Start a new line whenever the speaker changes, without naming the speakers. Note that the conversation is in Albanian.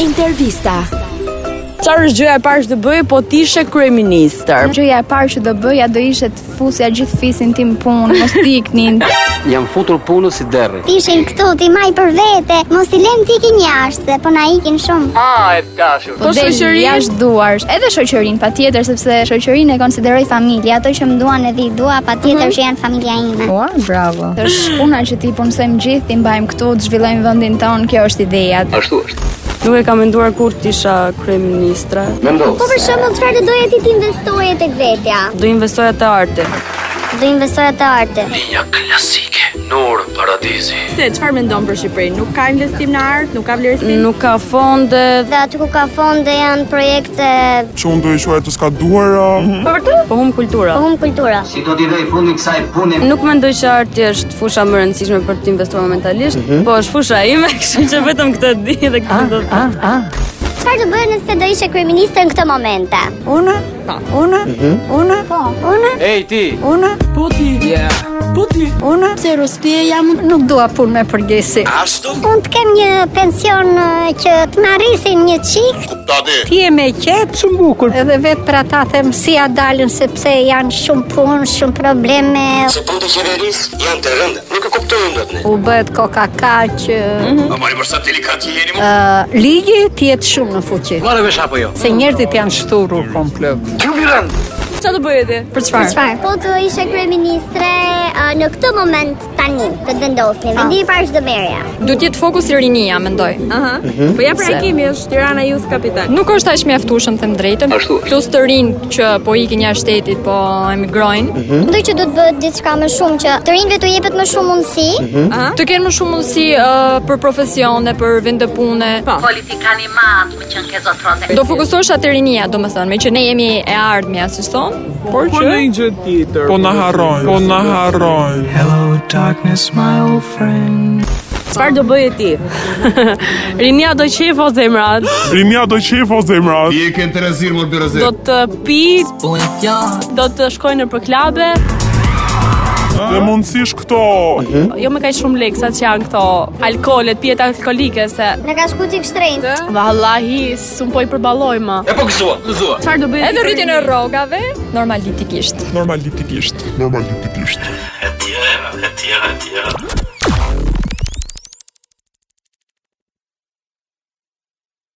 Intervista.
Çfarë është gjëja e parë që të bëj po ti ishe kryeministër?
Gjëja e parë që do bëja do ishte të fusja gjithë fisin tim punë, mos të iknin.
Po,
Jam futur punës si derri.
Ti ishin këtu, ti maj për vete, mos i lem ti ikin jashtë, se po na ikin shumë.
Po
del
shoqëria-
jashtë duarsh. Edhe shoqërin patjetër sepse shoqërinë e konsideroj familje, ato që më duan edhe i dua,
Mhm.
patjetër që janë familja ime. Ua, bravo. Është puna që ti punësojmë gjithë, ti mbajmë këtu, të zhvillojmë vendin ton, kjo është ideja.
Ashtu është.
Nuk e kam menduar kur të isha kryeministre.
Mendo.
Po për shembull, çfarë doje ti të investoje tek vetja?
Do investoja te arti.
Do investoja te arti.
Linja klasike, nur paradizi.
Se çfarë mendon për Shqipërinë? Nuk ka investim në art, nuk ka vlerësim.
Nuk ka fonde,
Dhe aty ku ka fonde janë projekte
që unë do i shuaj të s'ka duhera.
po hum kultura.
për hum kultura.
Si do t'i vej fundi kësaj pune?
Nuk mendoj që arti është fusha më e rëndësishme për të investuar momentalisht, po është fusha ime, kështu që vetëm këtë di dhe këtë do të.
Çfarë do bëje nëse do ishe kryeministër në këtë momente?
Unë, unë, unë,
Po, unë
Ej ti.
unë, po ti, po ti, unë, se rostie jam, nuk dua punë me përgjesi.
unë të kem një pension eh, që të më arrisin një çik.
Ti je me qetë, shumë bukur. Edhe vetë për ata them si a dalën sepse janë shumë punë, shumë probleme.
Se punë të qeveris janë të rënda. Nuk e kuptojnë dot ne.
U bëhet koka kaq,
Hmm?
ë,
Po mali për sa delikat jeni mu.
Mhm. ë, ligji ti jetë shumë në fuqi.
Marrë vesh apo jo?
Se njerëzit janë shturur komplet.
Ju mi rënd.
Çfarë do bëje ti? Për çfarë?
Çfarë? Po të ishe kryeministre eh, në këtë moment tani të të vendosni. Vendi i parë çdo merja.
Do të jetë fokus i rinia, mendoj.
Aha.
Mhm.
Po ja reagimi është Tirana Youth Capital.
Nuk është aq mjaftueshëm them drejtën.
Ashtu është.
Plus të rinë që po ikin jashtë shtetit, po emigrojnë.
Hmm.
Mendoj që do të bëhet diçka më shumë që të rinjve të jepet më shumë mundësi.
Aha.
Të kenë më shumë mundësi uh, për profesione, për vende pune.
Po.
politikani matur që në kezo trote.
Do fokusosh atë rinia, domethënë, me që ne jemi e ardhmja, si thon. Por që
Po na harrojnë, po na harrojnë.
Çfarë do bëje ti?
rinia do qefo zemrat,
Rimja do qef o zemrat.
Do të pi, do të shkoj në për klabe,
Dhe mundësish këto
jo me kaq shumë lekë sa që janë këto alkoolet, pijet alkolike se
Në ka shku ti kështrejnë.
vallahi s'un po i përballoj më.
E po gëzua, gëzua.
Çfarë do bëje?
edhe rritjen e rrogave, normalitikisht.
normalitikisht.
E tjera, e tjera, e tjera.